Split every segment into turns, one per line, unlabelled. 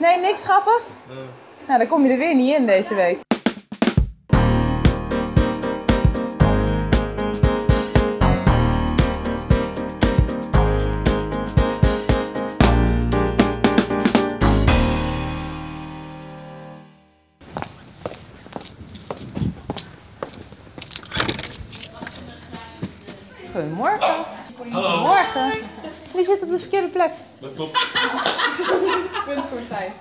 Nee, niks grappigs? Nou, dan kom je er weer niet in deze week. Goedemorgen. Goedemorgen. Wie zit op de verkeerde plek?
Dat klopt.
Punt voor Thijs.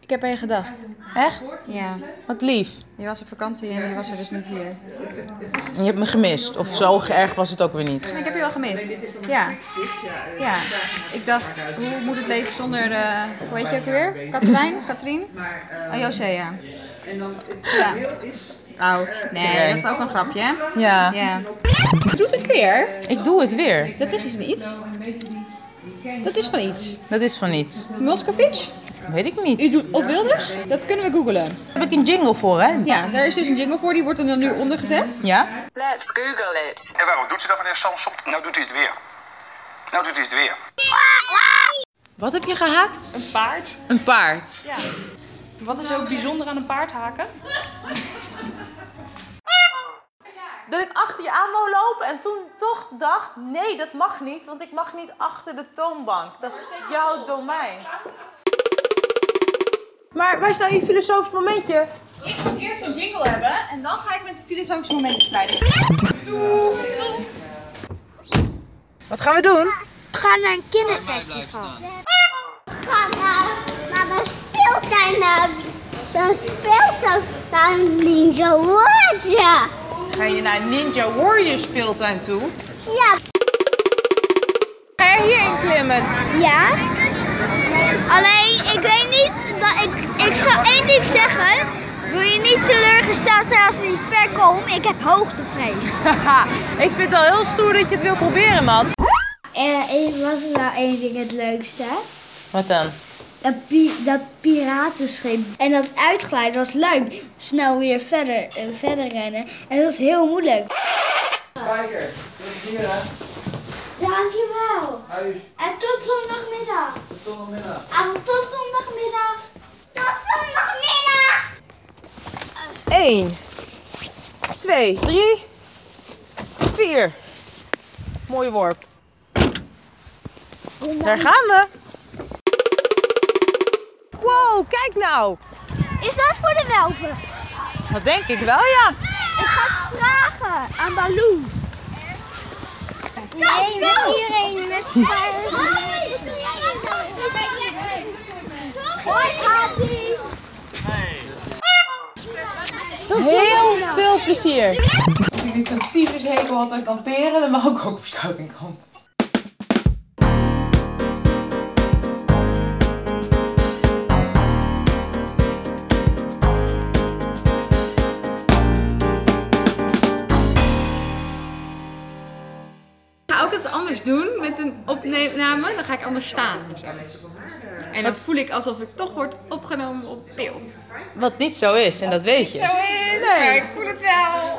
Ik heb aan je gedacht. Echt?
Ja,
Wat lief.
je was op vakantie en je was er dus niet hier.
Je hebt me gemist. Of zo erg was het ook weer niet.
ik heb je wel gemist. Ja. ja. Ik dacht, hoe moet het leven zonder, eh, hoe heet je ook weer? Katrijn? Katrien? Oh, Josea. Ja. Oh, nee, dat is ook een grapje, hè?
Ja.
Ja.
Doet het weer? Ik doe het weer.
Dat is dus van iets. Dat is van iets.
Dat is van iets.
Moscovic?
Weet ik niet.
U doet op Wilders? Dat kunnen we googlen.
Daar heb ik een jingle voor, hè?
Ja, daar is dus een jingle voor, die wordt er dan nu onder gezet.
Ja?
Let's Google it.
En waarom doet u dat, meneer Samson? Nou doet u het weer. Nou doet u het weer.
Wat heb je gehaakt?
Een paard?
Een paard.
Ja. Wat is ook bijzonder aan een paard haken?
Dat ik achter je aan wou lopen en toen toch dacht, nee, dat mag niet, want ik mag niet achter de toonbank. Dat is jouw domein. Maar waar is nou je filosofisch momentje?
Ik moet eerst zo'n jingle hebben en dan ga ik met de filosofische momentjes krijgen.
Wat gaan we doen?
We gaan naar een kinderfestival. We gaan naar, naar de speeltuin, naar de speeltuin Ninja Lodge.
Ga je naar Ninja Warrior speeltuin toe?
Ja.
Ga jij hierin klimmen?
Ja? Alleen, ik weet niet, dat ik, ik zal één ding zeggen. Wil je niet teleurgesteld zijn als je niet ver komt? Ik heb hoogtevrees.
Haha, ik vind het al heel stoer dat je het wil proberen, man.
Er was er nou één ding het leukste.
Wat dan?
Dat, dat piratenschip. En dat uitglijden was leuk. Snel weer verder en verder rennen. En dat was heel moeilijk. Dankjewel. En tot zondagmiddag. Tot zondagmiddag. En tot zondagmiddag. Tot zondagmiddag.
1, 2, 3, 4. Mooie worp. Oh, Daar gaan we. Wow, kijk nou.
Is dat voor de welpen?
Dat denk ik wel, ja.
Ik ga het vragen aan Baloo. Nee, met iedereen. Met Hoi, Kati. Tot
Heel veel plezier. Als ik niet zo'n tyfushekel had aan kamperen, dan mag ik ook op scoutingkamp.
Ik ga ook het anders doen met een opname, dan ga ik anders staan. En dan voel ik alsof ik toch word opgenomen op beeld.
Wat niet zo is, en dat weet je.
Zo is, maar ik voel het wel.